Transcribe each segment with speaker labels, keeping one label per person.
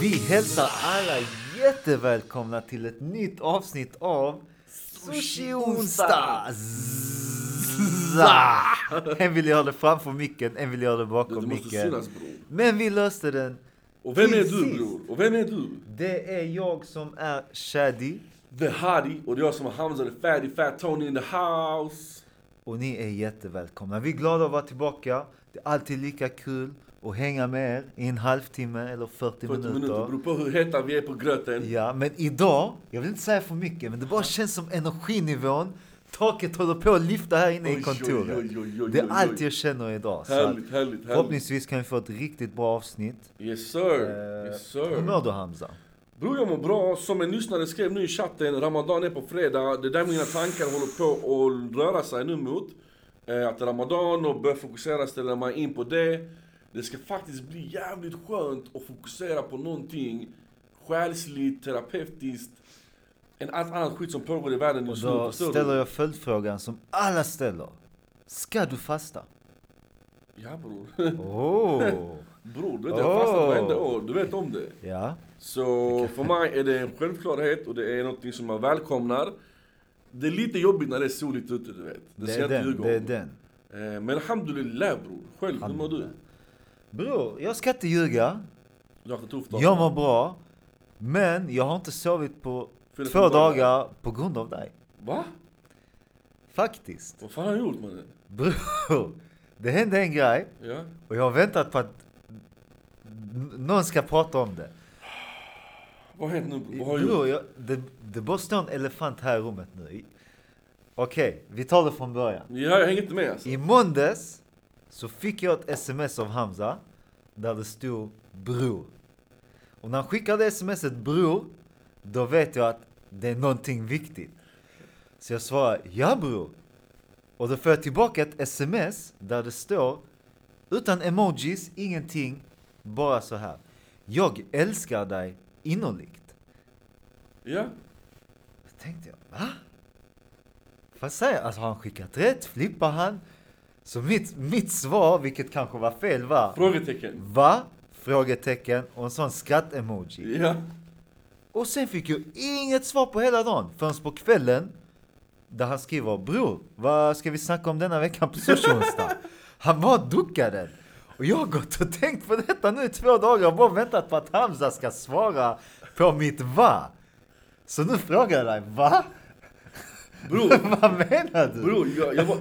Speaker 1: Vi hälsar alla jättevälkomna till ett nytt avsnitt av Sushi Onsdag! Zzzz. En ville göra det framför micken, en ville göra det
Speaker 2: Det, det
Speaker 1: bakom
Speaker 2: måste
Speaker 1: micken.
Speaker 2: synas bror.
Speaker 1: Men vi löste den.
Speaker 2: Och vem är
Speaker 1: Precis.
Speaker 2: du bror? Och vem är du?
Speaker 1: Det är jag som är Shadi
Speaker 2: The Hadi och det är jag som är Hamza the Fatty Fat Tony in the house.
Speaker 1: och ni är jättevälkomna. Vi är glada att vara tillbaka. Det är alltid lika kul att hänga med er i en halvtimme eller 40,
Speaker 2: 40 minuter,
Speaker 1: minuter.
Speaker 2: beror på hur heta vi är på gröten.
Speaker 1: Ja, men idag, jag vill inte säga för mycket, men det bara känns som energinivån. Taket håller på att lyfta här inne
Speaker 2: Oj,
Speaker 1: i
Speaker 2: oj,
Speaker 1: kontoret.
Speaker 2: oj, oj, oj,
Speaker 1: Det är
Speaker 2: oj,
Speaker 1: allt
Speaker 2: oj.
Speaker 1: jag känner idag. Så att
Speaker 2: Härligt, härligt, härligt.
Speaker 1: förhoppningsvis kan vi få ett riktigt bra avsnitt.
Speaker 2: Yes sir,
Speaker 1: Eh,
Speaker 2: yes
Speaker 1: Hur mår
Speaker 2: sir.
Speaker 1: du Hamza?
Speaker 2: Bror jag mår bra. Som en lyssnare skrev nu i chatten, Ramadan är på fredag. Det är där mina tankar håller på att röra sig nu mot. Eh, Att Ramadan och börja fokusera, ställa mig in på det. Det ska faktiskt bli jävligt skönt att fokusera på någonting själsligt, terapeutiskt. Än allt annat skit som pågår i världen
Speaker 1: Och
Speaker 2: just nu.
Speaker 1: då
Speaker 2: Förstår du?
Speaker 1: ställer jag följdfrågan som alla ställer. Ska du fasta?
Speaker 2: Ja bror.
Speaker 1: Oh,
Speaker 2: Bror, du vet jag har fastat
Speaker 1: Oh.
Speaker 2: varenda år. Du vet om det.
Speaker 1: ja.
Speaker 2: Så för mig är det en självklarhet och det är någonting som man välkomnar. Det är lite jobbigt när det är soligt ute, du vet. Det,
Speaker 1: Det
Speaker 2: ska
Speaker 1: är
Speaker 2: jag inte
Speaker 1: den,
Speaker 2: ljuga om.
Speaker 1: det är den.
Speaker 2: Eh, Men alhamdulillah bror. Själv, hur mår du?
Speaker 1: Bror, jag ska inte ljuga.
Speaker 2: Du har haft det tufft då?
Speaker 1: Jag mår bra. Men jag har inte sovit på
Speaker 2: Fyra,
Speaker 1: två
Speaker 2: fem dagar.
Speaker 1: dagar på grund av dig.
Speaker 2: Va?
Speaker 1: Faktiskt.
Speaker 2: Vad fan har jag gjort mannen?
Speaker 1: Bror, det hände en grej
Speaker 2: Ja?
Speaker 1: och jag har väntat på att n- någon ska prata om det.
Speaker 2: Vad har hänt nu bror? Vad har jag gjort?
Speaker 1: Bror, jag, det, det bara står en elefant här i rummet nu. I- Okej, vi tar det från början.
Speaker 2: Ja, jag hänger inte med alltså.
Speaker 1: I måndags så fick jag ett sms av Hamza där det stod bror. Och när han skickade smset bror, då vet jag att det är någonting viktigt. Så jag svarar ja bror. Och då får jag tillbaka ett sms där det står utan emojis, ingenting, bara så här. Jag älskar dig innerligt.
Speaker 2: Ja?
Speaker 1: Då tänkte jag, va? Vad säger Alltså har han skickat rätt? Flippar han? Så mitt, mitt svar, vilket kanske var fel, var
Speaker 2: Frågetecken.
Speaker 1: va? Frågetecken och en sån skratt-emoji.
Speaker 2: Ja?
Speaker 1: Och sen fick jag inget svar på hela dagen förrän på kvällen där han skriver bror, vad ska vi snacka om denna veckan på sushi onsdag? Han bara duckade. Och jag har gått och tänkt på detta nu i två dagar och bara väntat på att Hamza ska svara på mitt va. Så nu frågar jag dig, va?
Speaker 2: Bror,
Speaker 1: Vad menar du?
Speaker 2: bror jag, jag var...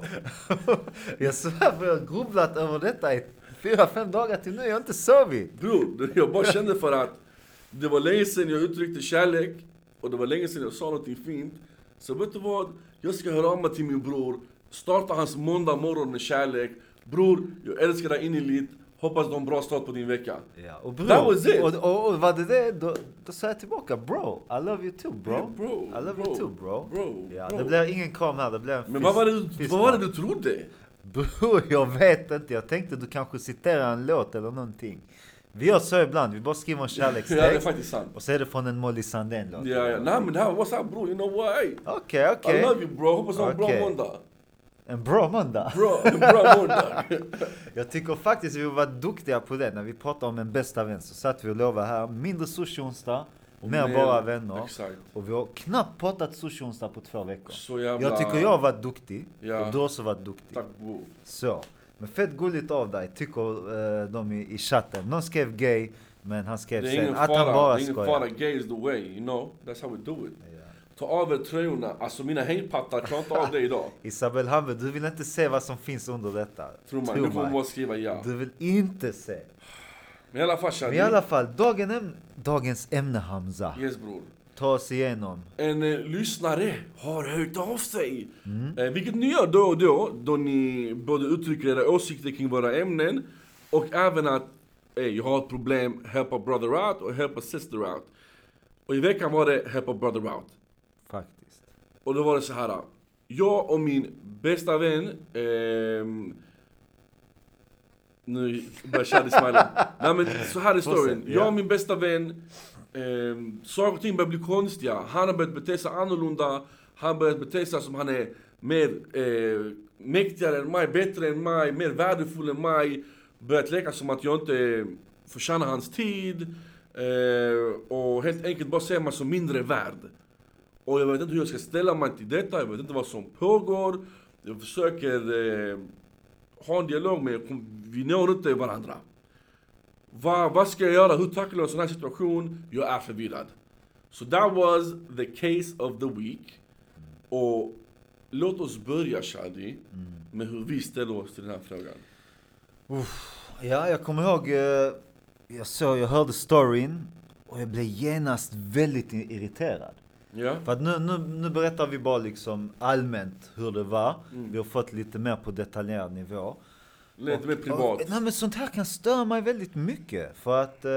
Speaker 1: Jag svär på jag har grubblat över detta i fyra, fem dagar till nu. Jag har inte sovit.
Speaker 2: Bror, jag bara kände för att det var länge sedan jag uttryckte kärlek och det var länge sedan jag sa någonting fint. Så vet du vad? Jag ska höra av mig till min bror, starta hans måndag morgon med kärlek. Bror, jag älskar dig innerligt. Hoppas du har en bra start på din vecka.
Speaker 1: Ja, och bro,
Speaker 2: That was it.
Speaker 1: Och, och, och var det det, då, då sa jag tillbaka bro, I love you too bro.
Speaker 2: Yeah, bro,
Speaker 1: I love you
Speaker 2: bro,
Speaker 1: too bro.
Speaker 2: bro,
Speaker 1: ja,
Speaker 2: bro.
Speaker 1: Det blev ingen kam här, det blev en
Speaker 2: Men vad var det, du-
Speaker 1: fist-
Speaker 2: vad var det du trodde?
Speaker 1: Bro, jag vet inte. Jag tänkte du kanske citerar en låt eller någonting. Vi gör så ibland, vi bara skriver en
Speaker 2: Ja, det är
Speaker 1: kärlekstext
Speaker 2: faktiskt sant.
Speaker 1: och så är det från en Molly Sandén-låt.
Speaker 2: Ja, ja. Nej men det här var what's up bror, you know what? Hey,
Speaker 1: Okej,
Speaker 2: I
Speaker 1: okej.
Speaker 2: love you bro, hoppas du har en bra
Speaker 1: Okej.
Speaker 2: måndag.
Speaker 1: En bra måndag.
Speaker 2: Bra, en bra måndag.
Speaker 1: Jag tycker faktiskt vi var duktiga på det. När vi pratade om en bästa vän så satt vi och lovade här mindre sushi onsdag, mer bara vänner.
Speaker 2: Exakt.
Speaker 1: Och vi har knappt pratat sushi onsdag på två veckor.
Speaker 2: Så jävla...
Speaker 1: Jag tycker jag har varit duktig
Speaker 2: Ja.
Speaker 1: och du har också varit duktig.
Speaker 2: Tack bror.
Speaker 1: Så. Men fett gulligt av dig tycker eh, de i, i chatten. Någon skrev gay men han skrev
Speaker 2: Det är ingen
Speaker 1: sen att
Speaker 2: fara,
Speaker 1: han bara
Speaker 2: det är ingen fara.
Speaker 1: skojar.
Speaker 2: Gay is the way, you know. That's how we do it.
Speaker 1: Ja.
Speaker 2: Ta av er tröjorna, alltså mina hängpattar klarar inte av det idag.
Speaker 1: Isabel Hamberg, du vill inte se vad som finns under detta.
Speaker 2: Tro mig, nu kommer
Speaker 1: mig.
Speaker 2: man skriva ja.
Speaker 1: Du vill inte se.
Speaker 2: Men i alla fall
Speaker 1: Men
Speaker 2: Shadi,
Speaker 1: i alla fall, dagen äm- dagens ämne Hamza.
Speaker 2: yes bror.
Speaker 1: Ta oss igenom.
Speaker 2: En eh, lyssnare har hört av sig.
Speaker 1: Mm.
Speaker 2: Eh, vilket ni gör då och då, då ni både uttrycker era åsikter kring våra ämnen och även att eh, jag har ett problem, help a brother out och help a sister out. Och i veckan var det help a brother out.
Speaker 1: Faktiskt.
Speaker 2: Och då var det så här. Jag och min bästa vän... ehm, nu börjar Shadi smila. Nej men så här är storyn.
Speaker 1: Fortsätt, ja.
Speaker 2: Jag och min bästa vän... Um, saker och ting börjar bli konstiga. Han har börjat bete sig annorlunda. Han har börjat bete sig som han är mer eh, mäktigare än mig, bättre än mig, mer värdefull än mig. Börjat leka som att jag inte förtjänar hans tid. Eh, och helt enkelt bara ser man som mindre värd. Och jag vet inte hur jag ska ställa mig till detta, jag vet inte vad som pågår. Jag försöker eh, ha en dialog men jag kom, vi når inte varandra. Va, vad ska jag göra? Hur tacklar jag en sån här situation? Jag är förvirrad. So that was the case of the week. Och låt oss börja Shadi med hur vi ställer oss till den här frågan.
Speaker 1: Ja, jag kommer ihåg. eh, Jag såg, jag hörde storyn och jag blev genast väldigt i- irriterad.
Speaker 2: Ja?
Speaker 1: För att nu, nu, nu berättar vi bara liksom allmänt hur det var. Vi har fått lite mer på detaljerad nivå.
Speaker 2: Lite
Speaker 1: Och-
Speaker 2: mer privat.
Speaker 1: och- nej, men sånt här kan störa mig väldigt mycket. För att eh,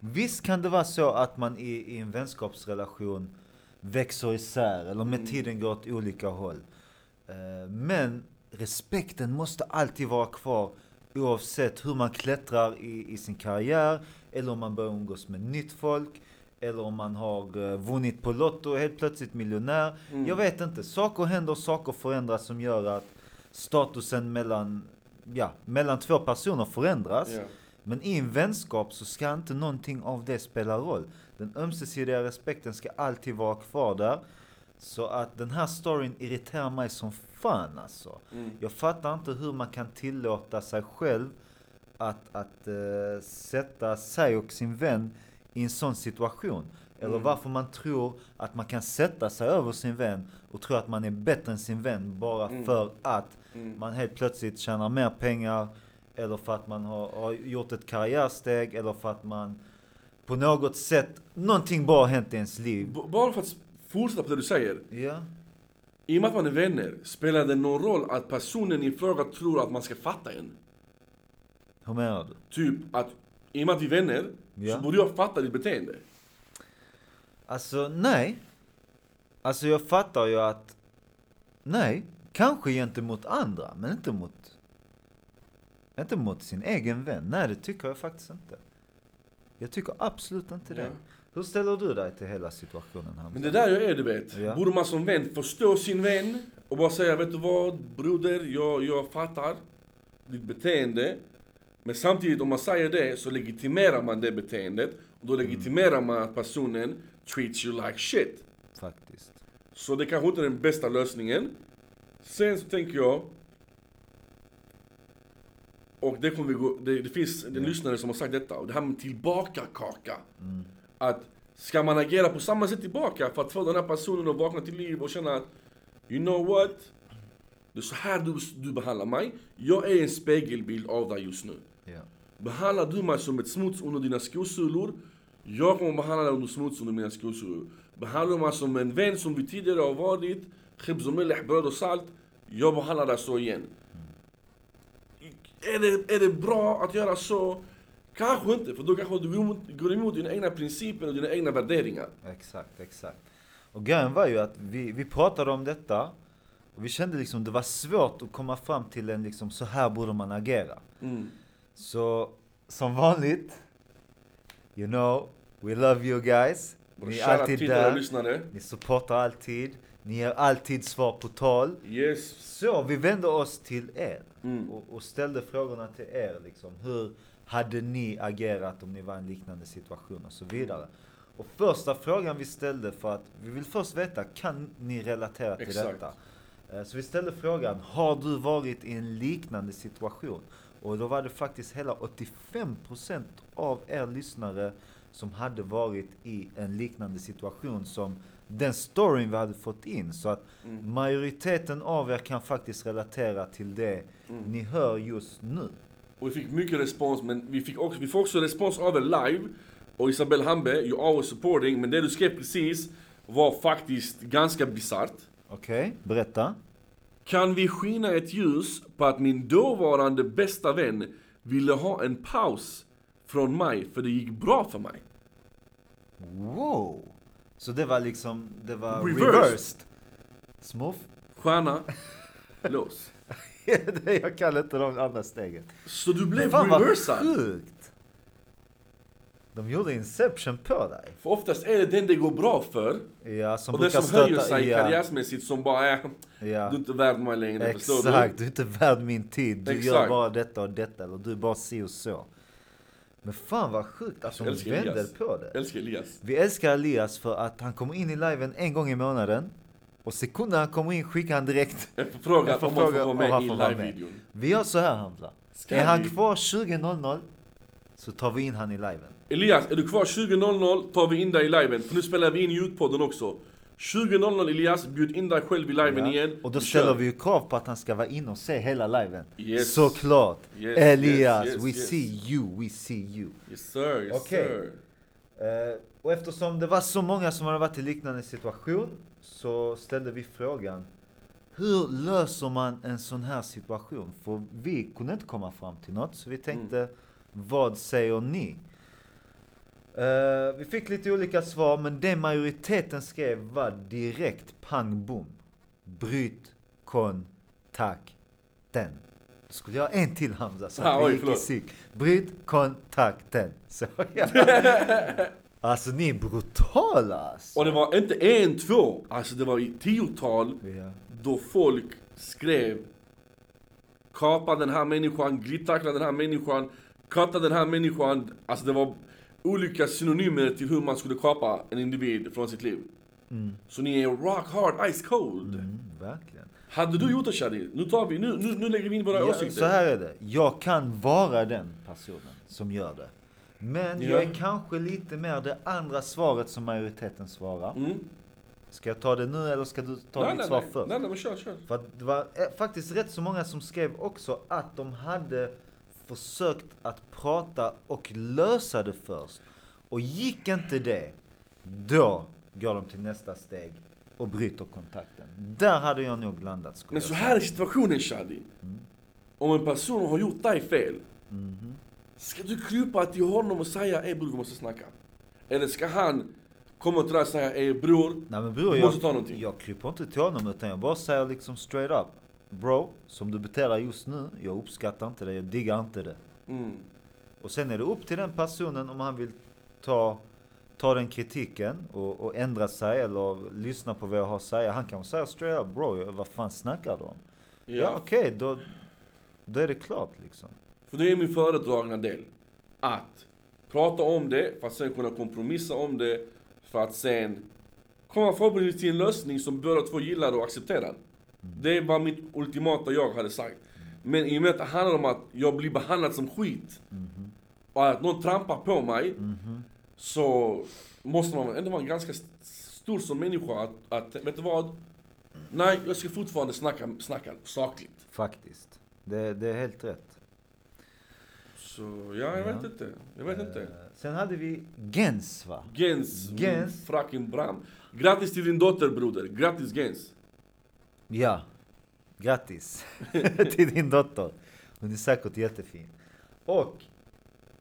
Speaker 1: visst kan det vara så att man i, i en vänskapsrelation växer isär eller med
Speaker 2: Mm.
Speaker 1: tiden går åt olika håll. Eh, men respekten måste alltid vara kvar oavsett hur man klättrar i, i sin karriär eller om man börjar umgås med nytt folk eller om man har eh, vunnit på Lotto och helt plötsligt miljonär.
Speaker 2: Mm.
Speaker 1: Jag vet inte. Saker händer, saker förändras som gör att statusen mellan, ja, mellan två personer förändras.
Speaker 2: Ja.
Speaker 1: Men i en vänskap så ska inte någonting av det spela roll. Den ömsesidiga respekten ska alltid vara kvar där. Så att den här storyn irriterar mig som fan alltså.
Speaker 2: Mm.
Speaker 1: Jag fattar inte hur man kan tillåta sig själv att, att eh, sätta sig och sin vän i en sån situation. Eller varför man tror att man kan sätta sig över sin vän och tro att man är bättre än sin vän bara för att man helt plötsligt tjänar mer pengar eller för att man har, har gjort ett karriärsteg eller för att man på något sätt, någonting bra har hänt i ens liv.
Speaker 2: B- bara för att s- fortsätta på det du säger.
Speaker 1: Ja,
Speaker 2: I och med att man är vänner, spelar det någon roll att personen i fråga tror att man ska fatta en?
Speaker 1: hur menar du?
Speaker 2: Typ att, i och med att vi är vänner,
Speaker 1: Ja.
Speaker 2: så borde jag fatta ditt beteende.
Speaker 1: Alltså, nej. Alltså jag fattar ju att, nej, kanske gentemot andra, men inte mot, inte mot sin egen vän. Nej, det tycker jag faktiskt inte. Jag tycker absolut inte det.
Speaker 2: Ja.
Speaker 1: Hur ställer du dig till hela situationen Hamza?
Speaker 2: Men det där jag är du vet.
Speaker 1: Ja.
Speaker 2: Borde man som vän förstå sin vän och bara säga vet du vad broder, jag, jag fattar ditt beteende. Men samtidigt om man säger det så legitimerar man det beteendet. Och
Speaker 1: Mm.
Speaker 2: då legitimerar man att personen treats you like shit.
Speaker 1: Faktiskt.
Speaker 2: Så det kanske inte är den bästa lösningen. Sen så tänker jag... Och det kommer vi gå... Det, det finns en lyssnare som har sagt detta. Och det här med tillbaka-kaka. Att ska man agera på samma sätt tillbaka för att få den här personen att vakna till liv och känna att You know what? Det är så här du, du behandlar mig. Jag är en spegelbild av dig just nu.
Speaker 1: Ja.
Speaker 2: Behandlar du mig som ett smuts under dina skosulor, jag kommer behandla dig under smuts under mina skosulor. Behandlar du mig som en vän som vi tidigare har varit, khibz och melih, bröd och salt, jag behandlar dig så igen. Är det, är det bra att göra så? Kanske inte, för då kanske du går emot- går emot dina egna principer och dina egna värderingar.
Speaker 1: Exakt, exakt. Och grejen var ju att vi, vi pratade om detta och vi kände liksom det var svårt att komma fram till en liksom, så här borde man agera.
Speaker 2: Mm.
Speaker 1: Så som vanligt, you know, we love you guys.
Speaker 2: Och
Speaker 1: Ni är
Speaker 2: kära
Speaker 1: alltid
Speaker 2: tittare och
Speaker 1: där,
Speaker 2: lyssnare.
Speaker 1: ni supportar alltid, ni ger alltid svar på tal.
Speaker 2: Yes.
Speaker 1: Så vi vände oss till er
Speaker 2: Mm.
Speaker 1: och, och ställde frågorna till er. Liksom, hur hade ni agerat om ni var i en liknande situation och så vidare. Och första frågan vi ställde för att vi vill först veta, kan ni relatera till
Speaker 2: Exakt.
Speaker 1: detta? Eh, Så vi ställde frågan, har du varit i en liknande situation? Och då var det faktiskt hela 85% av er lyssnare som hade varit i en liknande situation som den storyn vi hade fått in. Så att majoriteten av er kan faktiskt relatera till det ni hör just nu.
Speaker 2: Och vi fick mycket respons, men vi fick också, vi får också respons av er live. Och Isabel Hambe, you always supporting, men det du skrev precis var faktiskt ganska bisarrt.
Speaker 1: Okej, berätta.
Speaker 2: Kan vi skina ett ljus på att min dåvarande bästa vän ville ha en paus från mig för det gick bra för mig?
Speaker 1: Wow! Så det var liksom, det var
Speaker 2: Reversed.
Speaker 1: reversed. Smurf?
Speaker 2: Stjärna, lås.
Speaker 1: Det- jag kan inte de andra stegen.
Speaker 2: Så du blev
Speaker 1: Fan vad
Speaker 2: reversad.
Speaker 1: sjukt! De gjorde Inception på dig.
Speaker 2: För oftast är det den det går bra för
Speaker 1: Ja, som
Speaker 2: och den
Speaker 1: brukar
Speaker 2: som höjer
Speaker 1: stöta-
Speaker 2: sig
Speaker 1: ja,
Speaker 2: karriärsmässigt som bara är
Speaker 1: Ja.
Speaker 2: du är inte värd mig längre, förstår du?
Speaker 1: Exakt, du är inte värd min tid. Du gör
Speaker 2: Exakt.
Speaker 1: bara detta och detta, eller du är bara si och så. Men fan vad sjukt att de
Speaker 2: Jag älskar
Speaker 1: vänder
Speaker 2: Elias.
Speaker 1: på det.
Speaker 2: Älskar Elias.
Speaker 1: Vi älskar Elias för att han kommer in i liven en gång i månaden. Och sekunden han kommer in skickar han direkt.
Speaker 2: En förfrågan
Speaker 1: Jag
Speaker 2: om man får
Speaker 1: förfrågar
Speaker 2: vara
Speaker 1: om
Speaker 2: med
Speaker 1: han
Speaker 2: i
Speaker 1: får vara med.
Speaker 2: live-videon.
Speaker 1: Vi gör så här Hamza.
Speaker 2: Ska
Speaker 1: Är han
Speaker 2: vi-
Speaker 1: kvar 20.00 så tar vi in han i liven.
Speaker 2: Elias, är du kvar 20.00 tar vi in dig i liven, för nu spelar vi in ljudpodden också. 20.00 Elias, bjud in dig själv i liven
Speaker 1: Ja.
Speaker 2: igen.
Speaker 1: Och då
Speaker 2: kör.
Speaker 1: ställer vi ju krav på att han ska vara inne och se hela liven.
Speaker 2: Yes.
Speaker 1: Såklart!
Speaker 2: Yes,
Speaker 1: Elias,
Speaker 2: yes, yes,
Speaker 1: we
Speaker 2: yes.
Speaker 1: see you, we see you.
Speaker 2: Yes sir, yes
Speaker 1: Okej.
Speaker 2: sir.
Speaker 1: Eh, och eftersom det var så många som hade varit i liknande situation så ställde vi frågan hur löser man en sån här situation? För vi kunde inte komma fram till något så vi tänkte
Speaker 2: Mm.
Speaker 1: vad säger ni? Eh, vi fick lite olika svar men det majoriteten skrev var direkt pang bom. Bryt kontakten. Skulle jag ha en till Hamza så att
Speaker 2: Ah,
Speaker 1: vi
Speaker 2: oj,
Speaker 1: gick i
Speaker 2: förlåt.
Speaker 1: synk. Bryt kontakten. Så, ja. Alltså ni är brutala alltså.
Speaker 2: Och det var inte en, två, alltså det var i tiotal
Speaker 1: Ja.
Speaker 2: då folk skrev Kapa den här människan, glittackla den här människan, katta den här människan. Alltså det var olika synonymer till hur man skulle kapa en individ från sitt liv. Så ni är rock hard, ice cold.
Speaker 1: Mm, verkligen.
Speaker 2: Hade du gjort det Shadi? Nu tar vi, nu, nu, nu lägger vi in våra
Speaker 1: Ja,
Speaker 2: åsikter.
Speaker 1: så här är det. Jag kan vara den personen som gör det. Men
Speaker 2: Ja.
Speaker 1: jag är kanske lite mer det andra svaret som majoriteten svarar.
Speaker 2: Mm.
Speaker 1: Ska jag ta det nu eller ska du ta
Speaker 2: nej,
Speaker 1: ditt
Speaker 2: nej,
Speaker 1: svar
Speaker 2: nej.
Speaker 1: först?
Speaker 2: Nej, nej, men kör, kör.
Speaker 1: För att det var eh, faktiskt rätt så många som skrev också att de hade försökt att prata och lösa det först. Och gick inte det, då går de till nästa steg och bryter kontakten. Där hade jag nog landat skulle
Speaker 2: Men
Speaker 1: jag
Speaker 2: så
Speaker 1: säga.
Speaker 2: här är situationen Shadi. Om en person har gjort dig fel. Ska du krypa till honom och säga ey bror vi måste snacka? Eller ska han komma till dig och säga ey bror.
Speaker 1: Nej men bror,
Speaker 2: Du
Speaker 1: jag,
Speaker 2: måste ta någonting.
Speaker 1: jag kryper inte till honom utan jag bara säger liksom straight up. Bro, som du beter dig just nu, jag uppskattar inte det, jag diggar inte det.
Speaker 2: Mm.
Speaker 1: Och sen är det upp till den personen om han vill ta, ta den kritiken och, och ändra sig eller lyssna på vad jag har att säga. Han kan säga straight up, bro, jag- vad fan snackar du om?
Speaker 2: Ja.
Speaker 1: Ja, okej, då, då är det klart liksom.
Speaker 2: För det är min föredragna del. Att prata om det för att sen kunna kompromissa om det. För att sen komma förhoppningsvis till en lösning som båda två gillar och accepterar. Det var mitt ultimata jag hade sagt. Men i och med att det handlar om att jag blir behandlad som skit. Och att någon trampar på mig. Så måste man ändå vara ganska st- stor som människa att, att vet du vad? Nej, jag ska fortfarande snacka, snacka sakligt.
Speaker 1: Faktiskt. Det, det är helt rätt.
Speaker 2: Så ja, jag
Speaker 1: Ja.
Speaker 2: vet inte. Jag vet inte.
Speaker 1: Eh, Sen hade vi Gens va?
Speaker 2: Gens, mm,
Speaker 1: Gens.
Speaker 2: fucking Bram. Grattis till din dotter broder, grattis Gens.
Speaker 1: Ja, grattis till din dotter. Hon är säkert jättefin. Och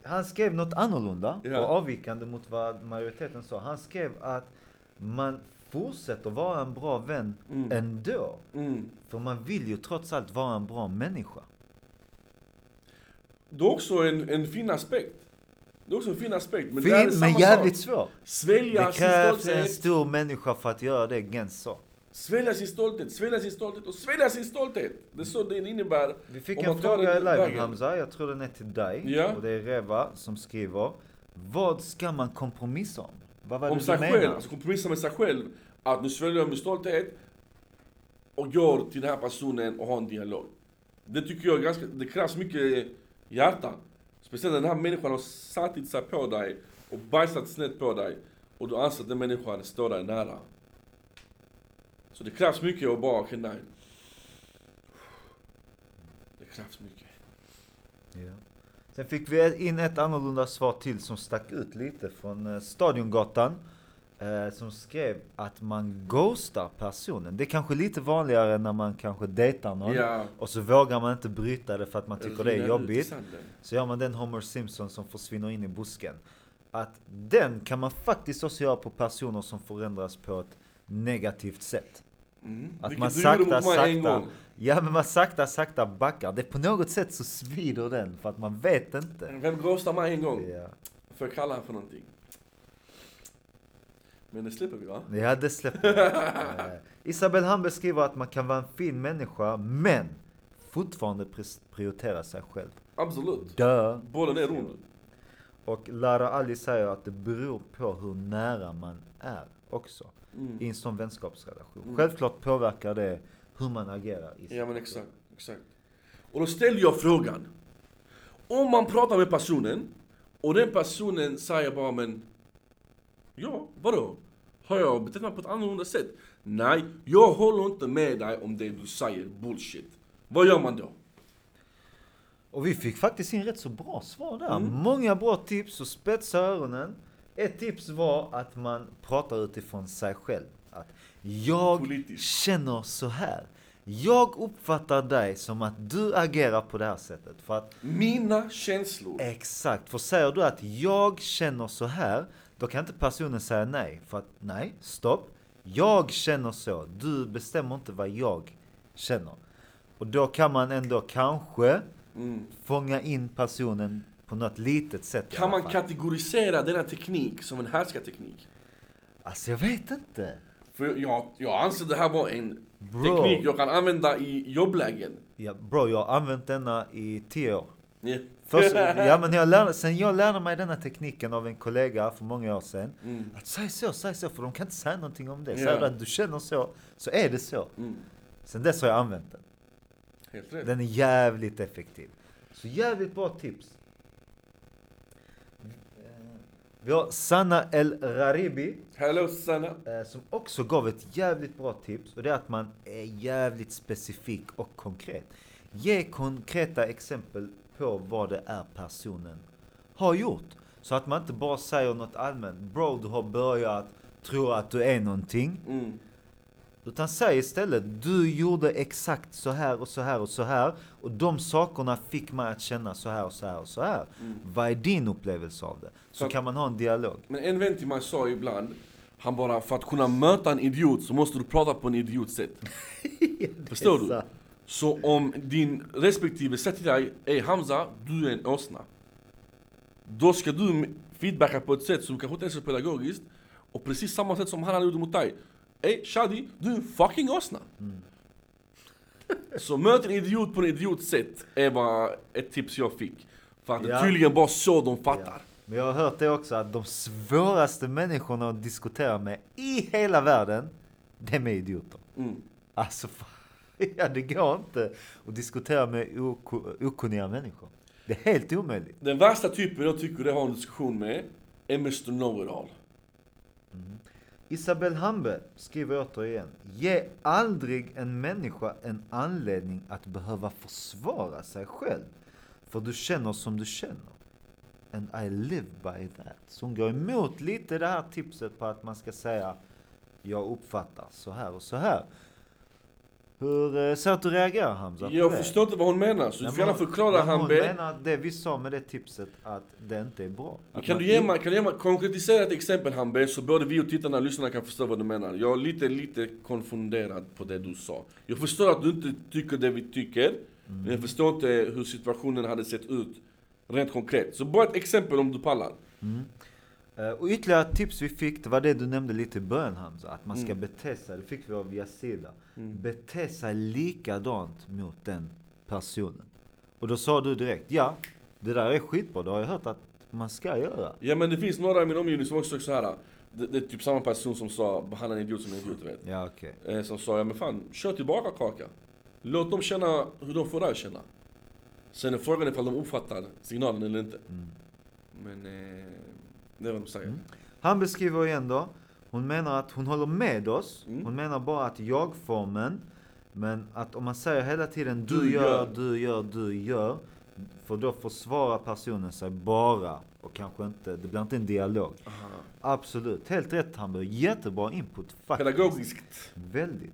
Speaker 1: han skrev något annorlunda
Speaker 2: Ja.
Speaker 1: och avvikande mot vad majoriteten sa. Han skrev att man fortsätter vara en bra vän
Speaker 2: Mm.
Speaker 1: ändå.
Speaker 2: Mm.
Speaker 1: För man vill ju trots allt vara en bra människa.
Speaker 2: Det är också en, en fin aspekt. Det är också en fin aspekt. Men det här är
Speaker 1: fin, men
Speaker 2: samma
Speaker 1: jävligt
Speaker 2: sak.
Speaker 1: svår.
Speaker 2: Svälja
Speaker 1: Det
Speaker 2: sin
Speaker 1: krävs en
Speaker 2: stolthet.
Speaker 1: stor människa för att göra det Gens sa.
Speaker 2: Svälja sin stolthet, svälja sin stolthet och svälja sin stolthet. Det är så det innebär.
Speaker 1: Vi fick
Speaker 2: Om
Speaker 1: en
Speaker 2: man tar
Speaker 1: fråga i
Speaker 2: den
Speaker 1: liven
Speaker 2: vägen.
Speaker 1: Hamza, jag tror den är till dig.
Speaker 2: Ja.
Speaker 1: Och det är Reva som skriver. Vad ska man kompromissa om? Vad var
Speaker 2: Om
Speaker 1: det du
Speaker 2: sig själv,
Speaker 1: menade?
Speaker 2: alltså kompromissa med sig själv. Att nu sväljer jag min stolthet och går till den här personen och har en dialog. Det tycker jag är ganska, det krävs mycket hjärta. Speciellt när den här människan har satt sig på dig och bajsat snett på dig och du anser att den människan står dig nära. Så det krävs mycket att bara, okej nej. Det krävs mycket.
Speaker 1: Ja. Sen fick vi in ett annorlunda svar till som stack ut lite från eh, Stadiongatan. Eh, som skrev att man ghostar personen. Det är kanske lite vanligare när man kanske dejtar någon.
Speaker 2: Ja.
Speaker 1: Och så vågar man inte bryta det för att man tycker det
Speaker 2: Rinna
Speaker 1: är
Speaker 2: ut i
Speaker 1: jobbigt.
Speaker 2: sanden.
Speaker 1: Så gör man den Homer Simpson som försvinner in i busken. Att den kan man faktiskt också göra på personer som förändras på ett negativt sätt.
Speaker 2: Mm.
Speaker 1: Att
Speaker 2: Vilket
Speaker 1: man
Speaker 2: du gjorde
Speaker 1: sakta,
Speaker 2: mot mig en
Speaker 1: sakta,
Speaker 2: gång.
Speaker 1: ja men man sakta, sakta backar. Det är på något sätt så svider den för att man vet inte.
Speaker 2: Vem ghostade mig en gång?
Speaker 1: Ja,
Speaker 2: Får jag kalla honom för någonting? Men det slipper vi va?
Speaker 1: ja det släpper jag. Eh, Isabel Hambe skriver att man kan vara en fin människa men fortfarande pres- prioritera sig själv.
Speaker 2: Absolut.
Speaker 1: Dö.
Speaker 2: Bollen är rund.
Speaker 1: Och Lara Ali säger att det beror på hur nära man är också.
Speaker 2: Mm.
Speaker 1: I en sån vänskapsrelation. Självklart påverkar det hur man agerar i
Speaker 2: Ja men exakt, exakt. Och då ställer jag frågan. Om man pratar med personen och den personen säger bara men Ja, vadå? Har jag betett mig på ett annorlunda sätt? Nej, jag håller inte med dig om det du säger bullshit. Vad gör man då?
Speaker 1: Och vi fick faktiskt in rätt så bra svar där.
Speaker 2: Mm.
Speaker 1: Många bra tips och spetsa öronen. Ett tips var att man pratar utifrån sig själv. Att jag
Speaker 2: Politiskt.
Speaker 1: känner så här. Jag uppfattar dig som att du agerar på det här sättet. För att
Speaker 2: Mina känslor.
Speaker 1: Exakt, för säger du att jag känner så här, då kan inte personen säga nej. För att nej, stopp. Jag känner så, du bestämmer inte vad jag känner. Och då kan man ändå kanske fånga in personen på något litet sätt i
Speaker 2: Mm. Kan
Speaker 1: alla
Speaker 2: man
Speaker 1: fall.
Speaker 2: kategorisera denna teknik som en härskarteknik?
Speaker 1: Alltså jag vet inte.
Speaker 2: För jag, jag anser det här var en
Speaker 1: Bro.
Speaker 2: teknik jag kan använda i jobblägen.
Speaker 1: Ja, bro, jag har använt denna i tio år.
Speaker 2: Yeah.
Speaker 1: Först, ja, men jag lärde, sen jag lärde mig denna tekniken av en kollega för många år sedan. Att säg så, säg så, för de kan inte säga någonting om det. Säger
Speaker 2: Ja.
Speaker 1: du att du känner så, så är det så.
Speaker 2: Mm.
Speaker 1: Sen dess har jag använt den.
Speaker 2: Helt rätt.
Speaker 1: Den är jävligt effektiv. Så jävligt bra tips. Eh, Vi har Sanna El Raribi
Speaker 2: Hello Sanna.
Speaker 1: eh, som också gav ett jävligt bra tips och det är att man är jävligt specifik och konkret. Ge konkreta exempel på vad det är personen har gjort. Så att man inte bara säger något allmänt. Bro, du har börjat tro att du är någonting.
Speaker 2: Mm.
Speaker 1: Utan säg istället, du gjorde exakt så här och så här och så här och de sakerna fick mig att känna så här och så här och så här.
Speaker 2: Mm.
Speaker 1: Vad är din upplevelse av det? Så
Speaker 2: Så-
Speaker 1: kan man ha en dialog.
Speaker 2: Men en vän till mig sa ibland, han bara för att kunna möta en idiot så måste du prata på en idiotsätt. Förstår du?
Speaker 1: Exakt.
Speaker 2: Så om din respektive säger till dig, ey Hamza, du är en åsna. Då ska du feedbacka på ett sätt som kanske inte är så pedagogiskt. Och precis samma sätt som han hade gjort mot dig. Ey Shadi, du är en fucking åsna. så möt en idiot på en idiotsätt är vad ett tips jag fick. För att det
Speaker 1: Ja.
Speaker 2: är tydligen bara så de fattar.
Speaker 1: Men jag har hört det också att de svåraste människorna att diskutera med i hela världen, de är idioter.
Speaker 2: Mm.
Speaker 1: Alltså, fan, ja, det går inte att diskutera med ok- okunniga människor. Det är helt omöjligt.
Speaker 2: Den värsta typen jag tycker det har en diskussion med är Mr Know It All.
Speaker 1: Isabel Hambe skriver återigen. Ge aldrig en människa en anledning att behöva försvara sig själv. För du känner som du känner. And I live by that. Så hon går emot lite det här tipset på att man ska säga jag uppfattar så här och så här. Hur eh, ser du att du reagerar Hamza? på
Speaker 2: Jag
Speaker 1: det?
Speaker 2: förstår inte vad hon menar, så du
Speaker 1: Nej,
Speaker 2: får
Speaker 1: men
Speaker 2: gärna
Speaker 1: hon-
Speaker 2: förklara
Speaker 1: men Hon
Speaker 2: Hambe.
Speaker 1: menar det vi sa med det tipset att det inte är bra.
Speaker 2: Men
Speaker 1: Att
Speaker 2: Kan
Speaker 1: man
Speaker 2: du ge mig, kan du ge mig, konkretisera ett exempel Hambe, så både vi och tittarna och lyssnarna kan förstå vad du menar. Jag är lite, lite konfunderad på det du sa. Jag förstår att du inte tycker det vi tycker, men jag förstår inte hur situationen hade sett ut rent konkret. Så bara ett exempel om du pallar.
Speaker 1: Eh, Och ytterligare ett tips vi fick, det var det du nämnde lite i början Hamza, att man ska
Speaker 2: Mm.
Speaker 1: bete sig, det fick vi av Yazida, bete sig likadant mot den personen. Och då sa du direkt, ja, det där är skitbra, det har jag hört att man ska göra.
Speaker 2: Ja men det finns några i min omgivning som också sagt så här. Det, det är typ samma person som sa, behandla en idiot som en idiot, du vet.
Speaker 1: Ja, okej.
Speaker 2: Eh, Som sa, ja men fan, kör tillbaka Kaka. Låt dem känna hur de får dig att känna. Sen är frågan ifall de uppfattar signalen eller inte.
Speaker 1: Mm.
Speaker 2: Men eh, det är vad de säger.
Speaker 1: Han beskriver igen då, hon menar att hon håller med oss,
Speaker 2: Mm.
Speaker 1: hon menar bara att jag-formen, men att om man säger hela tiden du,
Speaker 2: Du
Speaker 1: gör,
Speaker 2: gör."
Speaker 1: du gör, du gör, för då försvarar personen sig bara och kanske inte, det blir inte en dialog.
Speaker 2: Aha.
Speaker 1: Absolut, helt rätt Hamburg. Jättebra input faktiskt.
Speaker 2: Pedagogiskt.
Speaker 1: Väldigt.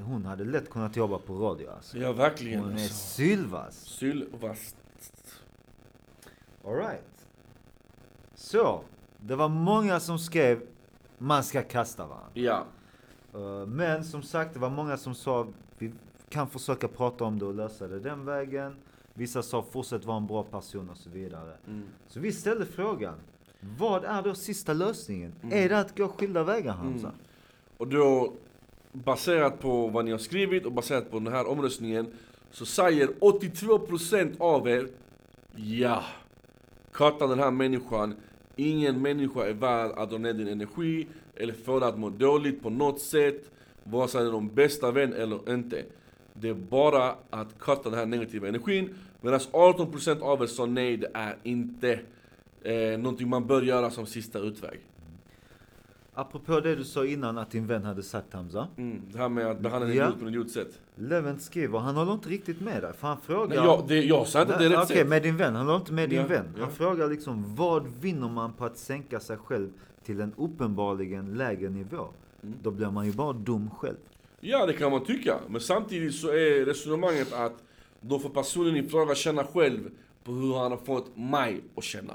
Speaker 1: Hon hade lätt kunnat jobba på radio alltså.
Speaker 2: Ja verkligen.
Speaker 1: Hon är
Speaker 2: alltså.
Speaker 1: sylvass.
Speaker 2: Sylvass.
Speaker 1: Alright. Så, det var många som skrev man ska kasta varandra.
Speaker 2: Ja.
Speaker 1: Eh, Men som sagt, det var många som sa vi kan försöka prata om det och lösa det den vägen. Vissa sa fortsätt vara en bra person och så vidare.
Speaker 2: Mm.
Speaker 1: Så vi ställde frågan, vad är då sista lösningen?
Speaker 2: Mm.
Speaker 1: Är det att gå skilda vägar Hamza?
Speaker 2: Och då baserat på vad ni har skrivit och baserat på den här omröstningen så säger 82% av er ja. Katan den här människan, ingen människa är värd att dra ner din energi eller få dig att må dåligt på något sätt. Vare sig det är de bästa vän eller inte. Det är bara att kata den här negativa energin. Medan 18% av er sa nej, det är inte eh, någonting man bör göra som sista utväg.
Speaker 1: Apropå det du sa innan att din vän hade sagt Hamza.
Speaker 2: Mm, det här med att behandla en
Speaker 1: Ja.
Speaker 2: idiot på ett idiotsätt.
Speaker 1: Löven skriver, han håller inte riktigt med dig. För han frågar...
Speaker 2: Nej, jag, det, jag sa inte att det är
Speaker 1: Nej,
Speaker 2: rätt
Speaker 1: Okej,
Speaker 2: sätt.
Speaker 1: med din vän. Han håller inte med din
Speaker 2: Ja,
Speaker 1: vän. Han
Speaker 2: ja.
Speaker 1: frågar liksom, vad vinner man på att sänka sig själv till en uppenbarligen lägre nivå?
Speaker 2: Mm.
Speaker 1: Då blir man ju bara dum själv.
Speaker 2: Ja, det kan man tycka. Men samtidigt så är resonemanget att då får personen i fråga känna själv på hur han har fått mig att känna.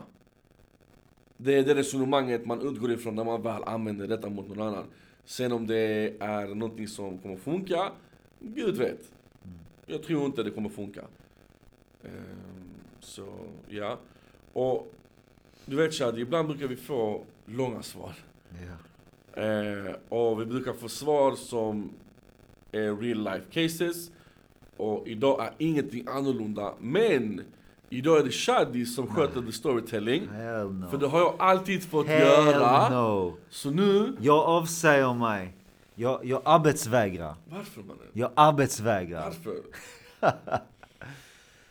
Speaker 2: Det är det resonemanget man utgår ifrån när man väl använder detta mot någon annan. Sen om det är någonting som kommer funka, gud vet. Jag tror inte det kommer funka. Ehm, Så, ja. Och du vet Shadi, ibland brukar vi få långa svar.
Speaker 1: Ja.
Speaker 2: Eh, och vi brukar få svar som är real life cases. Och idag är ingenting annorlunda. Men idag är det Shadi som sköter the storytelling.
Speaker 1: Hell no.
Speaker 2: För det har jag alltid fått göra.
Speaker 1: Hell no.
Speaker 2: Så nu...
Speaker 1: Jag avsäger mig. Jag, jag arbetsvägrar.
Speaker 2: Varför mannen?
Speaker 1: Jag arbetsvägrar.
Speaker 2: Varför?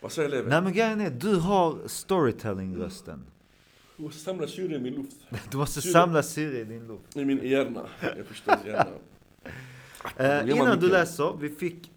Speaker 2: Vad säger eleven?
Speaker 1: Nej men grejen är, du har storytelling-rösten.
Speaker 2: Mm. Jag måste samla syre i min luft.
Speaker 1: Du måste
Speaker 2: Syre.
Speaker 1: samla syre i din luft.
Speaker 2: I min hjärna. Jag förstår hjärna.
Speaker 1: Eh,
Speaker 2: gör man
Speaker 1: innan du
Speaker 2: mycket.
Speaker 1: läser, vi fick,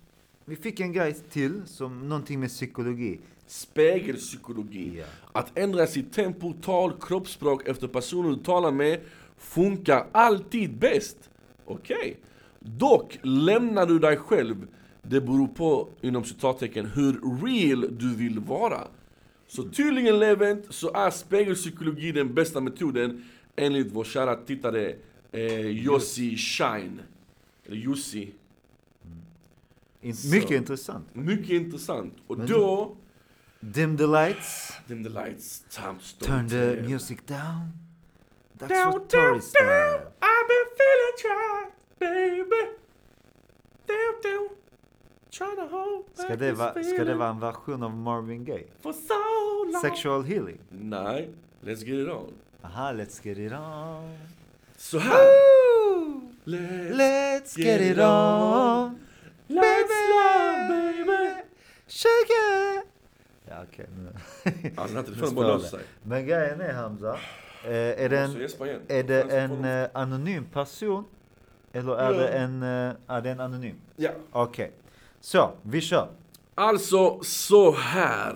Speaker 1: vi fick en grej till, som någonting med psykologi.
Speaker 2: Spegelpsykologi.
Speaker 1: Ja.
Speaker 2: Att ändra sitt tempo, tal, kroppsspråk efter personen du talar med funkar alltid bäst. Okej. Dock lämnar du dig själv. Det beror på, inom citattecken, hur real du vill vara. Så tydligen Levent, så är spegelpsykologi den bästa metoden enligt vår kära tittare eh, Jussi Shine. Eller Jussi.
Speaker 1: In,
Speaker 2: Så.
Speaker 1: mycket intressant.
Speaker 2: Mycket intressant. Och
Speaker 1: Men-
Speaker 2: då...
Speaker 1: Dim the lights,
Speaker 2: Dim the lights, time stop.
Speaker 1: turn the
Speaker 2: Yeah.
Speaker 1: music down. That's
Speaker 2: Down,
Speaker 1: what
Speaker 2: down,
Speaker 1: Tori style.
Speaker 2: I've been feeling tried, baby. Damn, damn. Trying to hold back
Speaker 1: Ska det,
Speaker 2: this
Speaker 1: va, ska det
Speaker 2: feeling
Speaker 1: vara en version av Marvin Gaye?
Speaker 2: For so long.
Speaker 1: Sexual healing.
Speaker 2: Nej, let's get it on.
Speaker 1: Aha, let's get it on.
Speaker 2: Så här. Let's,
Speaker 1: Let's
Speaker 2: get
Speaker 1: get it
Speaker 2: it
Speaker 1: on.
Speaker 2: let's love, baby.
Speaker 1: Sugar. Ja, okej. nu-
Speaker 2: Alltså den här
Speaker 1: Nu
Speaker 2: telefonen bara
Speaker 1: spårar
Speaker 2: löser
Speaker 1: det.
Speaker 2: sig.
Speaker 1: Men grejen är Hamza, eh, är det
Speaker 2: Så
Speaker 1: en
Speaker 2: gäspa igen.
Speaker 1: Är det
Speaker 2: Sen så
Speaker 1: en
Speaker 2: får de-
Speaker 1: eh, anonym person? Eller är
Speaker 2: Ja.
Speaker 1: det en... eh, Ja, det är en anonym.
Speaker 2: Ja.
Speaker 1: Okej. Så, vi kör.
Speaker 2: Alltså, så här.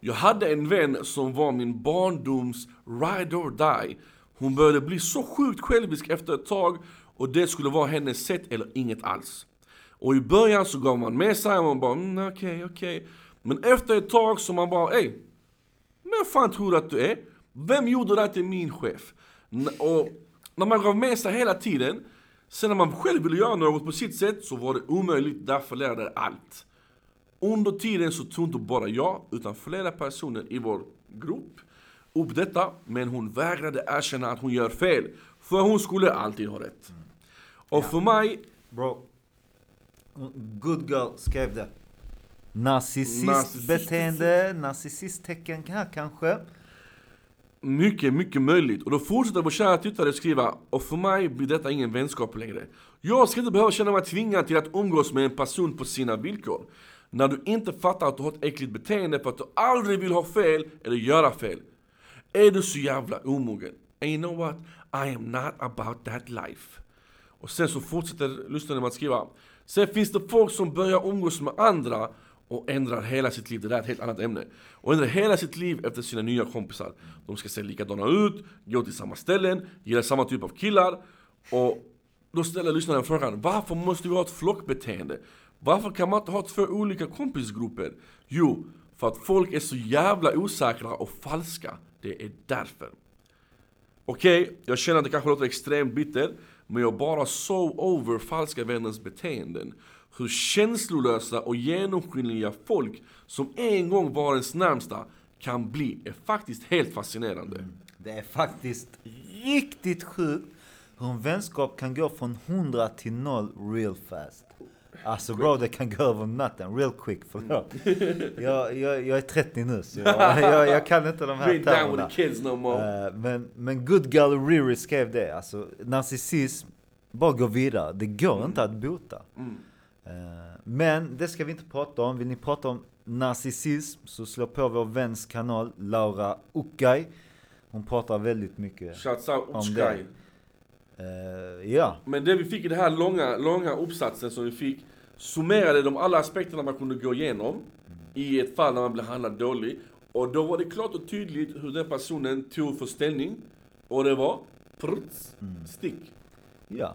Speaker 2: Jag hade en vän som var min barndoms ride or die. Hon började bli så sjukt självisk efter ett tag och det skulle vara hennes sätt eller inget alls. Och i början så gav man med sig och man bara mm, okej, okej. Men efter ett tag så man bara ey, men fan tror du att du är? Vem gjorde dig till min chef? N- och när man gav med sig hela tiden, sen när man själv ville göra något på sitt sätt så var det omöjligt, därför lärde jag allt. Under tiden så tog inte bara jag, utan flera personer i vår grupp upp detta, men hon vägrade erkänna att hon gör fel. För hon skulle alltid ha rätt. Och för mig,
Speaker 1: Bro. Good girl skrev det. Narcissist
Speaker 2: Narcissist.
Speaker 1: beteende, narcissisttecken här kanske.
Speaker 2: mycket, mycket möjligt. Och då fortsätter vår kära tittare skriva, och för mig blir detta ingen vänskap längre. Jag ska inte behöva känna mig tvingad till att umgås med en person på sina villkor. När du inte fattar att du har ett äckligt beteende för att du aldrig vill ha fel eller göra fel. Är du så jävla omogen? And you know what? I am not about that life. Och sen så fortsätter lyssnaren med att skriva. Sen finns det folk som börjar umgås med andra och ändrar hela sitt liv, det där är ett helt annat ämne. Och ändrar hela sitt liv efter sina nya kompisar. De ska se likadana ut, gå till samma ställen, gilla samma typ av killar. Och då ställer lyssnaren frågan, varför måste vi ha ett flockbeteende? Varför kan man inte ha två olika kompisgrupper? Jo, för att folk är så jävla osäkra och falska. Det är därför. Okej, jag känner att det kanske låter extremt bitter, men jag bara so over falska vänners beteenden. Hur känslolösa och genomskinliga folk som en gång var ens närmsta kan bli är faktiskt helt fascinerande.
Speaker 1: Det är faktiskt riktigt sjukt hur en vänskap kan gå från 100 till 0 real fast. Alltså bro, det kan gå över natten real quick. Förlåt.
Speaker 2: Mm.
Speaker 1: Jag, jag, jag är 30 nu så jag, jag, jag kan inte de här
Speaker 2: Bring down with
Speaker 1: termerna.
Speaker 2: the kids no more.
Speaker 1: Eh, men, men Good Gallery skrev det. Alltså, narcissism, bara gå vidare. Det går inte att bota. Eh, men det ska vi inte prata om. Vill ni prata om narcissism så slå på vår väns kanal, Laura Ukay. Hon pratar väldigt mycket.
Speaker 2: Shouts out
Speaker 1: Om
Speaker 2: Otskai.
Speaker 1: det. Eh, ja,
Speaker 2: Men det vi fick i den här långa, långa uppsatsen som vi fick summerade de alla aspekterna man kunde gå igenom i ett fall när man blev handlad dålig. Och då var det klart och tydligt hur den personen tog för ställning. Och det var pruts, stick.
Speaker 1: ja.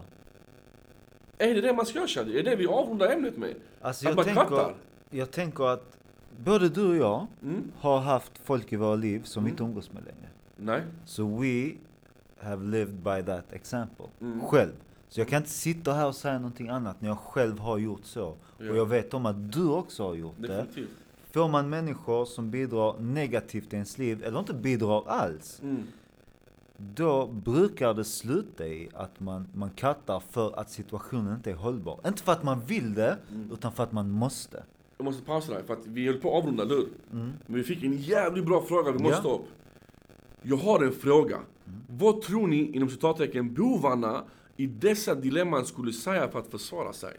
Speaker 2: Är det det man ska göra Shadi? Är det det vi avrundar ämnet med?
Speaker 1: Alltså
Speaker 2: Att
Speaker 1: jag
Speaker 2: man
Speaker 1: tänker,
Speaker 2: kvittar.
Speaker 1: jag tänker att både du och jag
Speaker 2: Mm.
Speaker 1: har haft folk i våra liv som vi inte umgås med längre.
Speaker 2: Nej.
Speaker 1: Så we have lived by that example.
Speaker 2: Mm.
Speaker 1: Själv. Så jag kan inte sitta här och säga någonting annat när jag själv har gjort så.
Speaker 2: Ja.
Speaker 1: Och jag vet om att du också har gjort det.
Speaker 2: Definitivt.
Speaker 1: Får man människor som bidrar negativt i ens liv, eller inte bidrar alls,
Speaker 2: Mm.
Speaker 1: då brukar det sluta i att man, man kattar för att situationen inte är hållbar. Inte för att man vill det,
Speaker 2: Mm.
Speaker 1: utan för att man måste.
Speaker 2: Jag måste pausa där, för att vi höll på att avrunda, eller hur? Men vi fick en jävligt bra fråga vi måste
Speaker 1: Mm. Ja. Mm.
Speaker 2: ta upp. Jag har en fråga. Vad tror ni, inom citattecken, bovarna i dessa dilemman skulle säga för att försvara sig?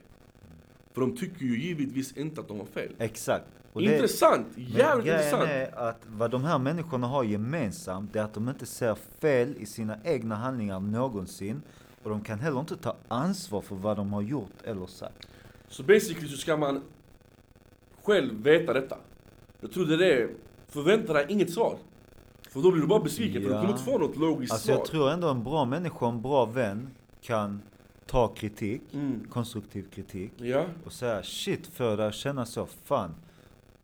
Speaker 2: För de tycker ju givetvis inte att de har fel.
Speaker 1: Exakt. Och det-
Speaker 2: intressant!
Speaker 1: Men
Speaker 2: Jävligt
Speaker 1: grejen
Speaker 2: intressant!
Speaker 1: är att vad de här människorna har gemensamt det är att de inte ser fel i sina egna handlingar någonsin och de kan heller inte ta ansvar för vad de har gjort eller sagt.
Speaker 2: Så basically så ska man själv veta detta. Jag tror det är det. Förvänta dig inget svar. För då blir du bara besviken, för du
Speaker 1: Ja.
Speaker 2: kommer inte få något logiskt
Speaker 1: Alltså
Speaker 2: svar.
Speaker 1: jag tror ändå en bra människa, en bra vän kan ta kritik,
Speaker 2: Mm.
Speaker 1: konstruktiv kritik
Speaker 2: Ja,
Speaker 1: och säga shit för det att känna så, fan.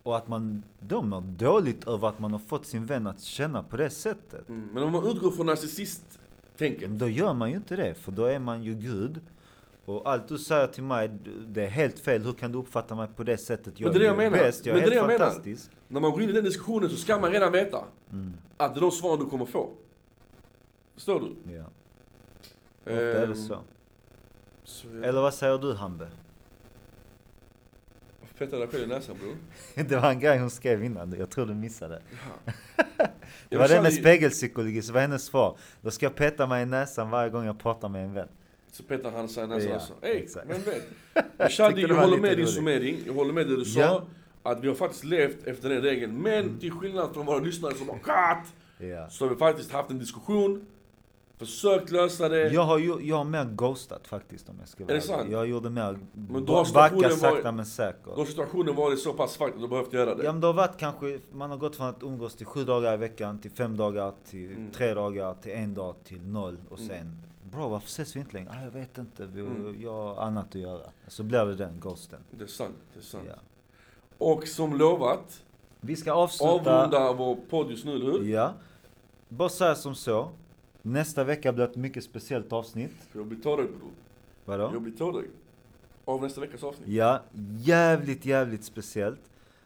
Speaker 1: Och att man då mår dåligt över att man har fått sin vän att känna på det sättet.
Speaker 2: Mm. Men om man utgår från narcissist-tänket.
Speaker 1: Men då gör man ju inte det, för då är man ju Gud. Och allt du säger till mig, det är helt fel. Hur kan du uppfatta mig på det sättet? Jag
Speaker 2: Men det är det
Speaker 1: ju
Speaker 2: jag menar.
Speaker 1: bäst, jag är
Speaker 2: Men det
Speaker 1: helt
Speaker 2: är det jag menar.
Speaker 1: fantastisk.
Speaker 2: När man går in i den diskussionen så ska man redan veta
Speaker 1: Mm.
Speaker 2: att det är de svar du kommer få. Förstår du?
Speaker 1: Ja, ofta är det
Speaker 2: Ehm,
Speaker 1: så.
Speaker 2: så
Speaker 1: Eller vad säger du Hambe?
Speaker 2: jag petar dig själv i näsan bror.
Speaker 1: Det var en grej hon skrev innan, jag tror du missade. Det
Speaker 2: Jag
Speaker 1: var det
Speaker 2: känner
Speaker 1: med
Speaker 2: ju-
Speaker 1: spegelpsykologi, så var hennes svar. Då ska jag peta mig i näsan varje gång jag pratar med en vän.
Speaker 2: Så petar han sig i näsan
Speaker 1: Ja,
Speaker 2: alltså. Ey,
Speaker 1: exakt.
Speaker 2: vem vet? Men Shadi,
Speaker 1: tyckte det
Speaker 2: jag
Speaker 1: var
Speaker 2: håller
Speaker 1: lite
Speaker 2: med din
Speaker 1: roligt.
Speaker 2: summering. Jag håller med det du sa.
Speaker 1: Ja. Mm.
Speaker 2: Att vi har faktiskt levt efter den regeln. Men till skillnad från våra lyssnare som har katt.
Speaker 1: Ja.
Speaker 2: Så har vi faktiskt haft en diskussion. Försökt lösa det.
Speaker 1: Jag har, ju, jag har mer ghostat faktiskt om jag ska vara
Speaker 2: Eh. det sant?
Speaker 1: ärlig. Jag gjorde mer
Speaker 2: du har
Speaker 1: backa
Speaker 2: stationen varit-
Speaker 1: sakta men säkert.
Speaker 2: Då har situationen varit så pass fucked att du behövt göra det.
Speaker 1: Ja men det har varit kanske, man har gått från att umgås till sju dagar i veckan, till fem dagar, till tre dagar, till en dag, till noll och sen Bra varför ses vi inte längre? Ah, jag vet inte, vi, jag har annat att göra. Så blir det den ghosten.
Speaker 2: Det är sant. Det är sant.
Speaker 1: Ja.
Speaker 2: Och som lovat.
Speaker 1: Vi ska avsluta.
Speaker 2: avrunda vår podd just nu, eller hur?
Speaker 1: Ja. Bara säga som så. Nästa vecka blir ett mycket speciellt avsnitt.
Speaker 2: Jag blir tårögd bror.
Speaker 1: Vadå?
Speaker 2: Jag blir tårögd. Av nästa veckas avsnitt.
Speaker 1: Ja, jävligt, jävligt speciellt.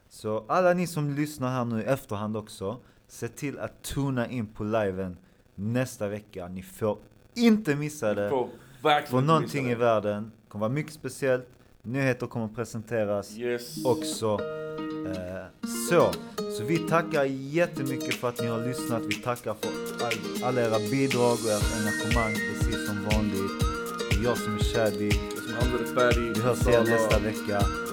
Speaker 1: Så alla ni som lyssnar här nu i efterhand också, se till att tuna in på liven nästa vecka. Ni får inte missa
Speaker 2: Ni
Speaker 1: det.
Speaker 2: får verkligen
Speaker 1: För
Speaker 2: inte
Speaker 1: någonting i
Speaker 2: missa
Speaker 1: världen kommer vara mycket speciellt. Nyheter kommer presenteras
Speaker 2: det. Yes.
Speaker 1: också. Eh, så, så vi tackar jättemycket för att ni har lyssnat. Vi tackar för all, alla era bidrag och ert engagemang precis som vanligt. Det är jag som är Shadi.
Speaker 2: Som handlar i Sverige.
Speaker 1: Vi hörs igen nästa vecka.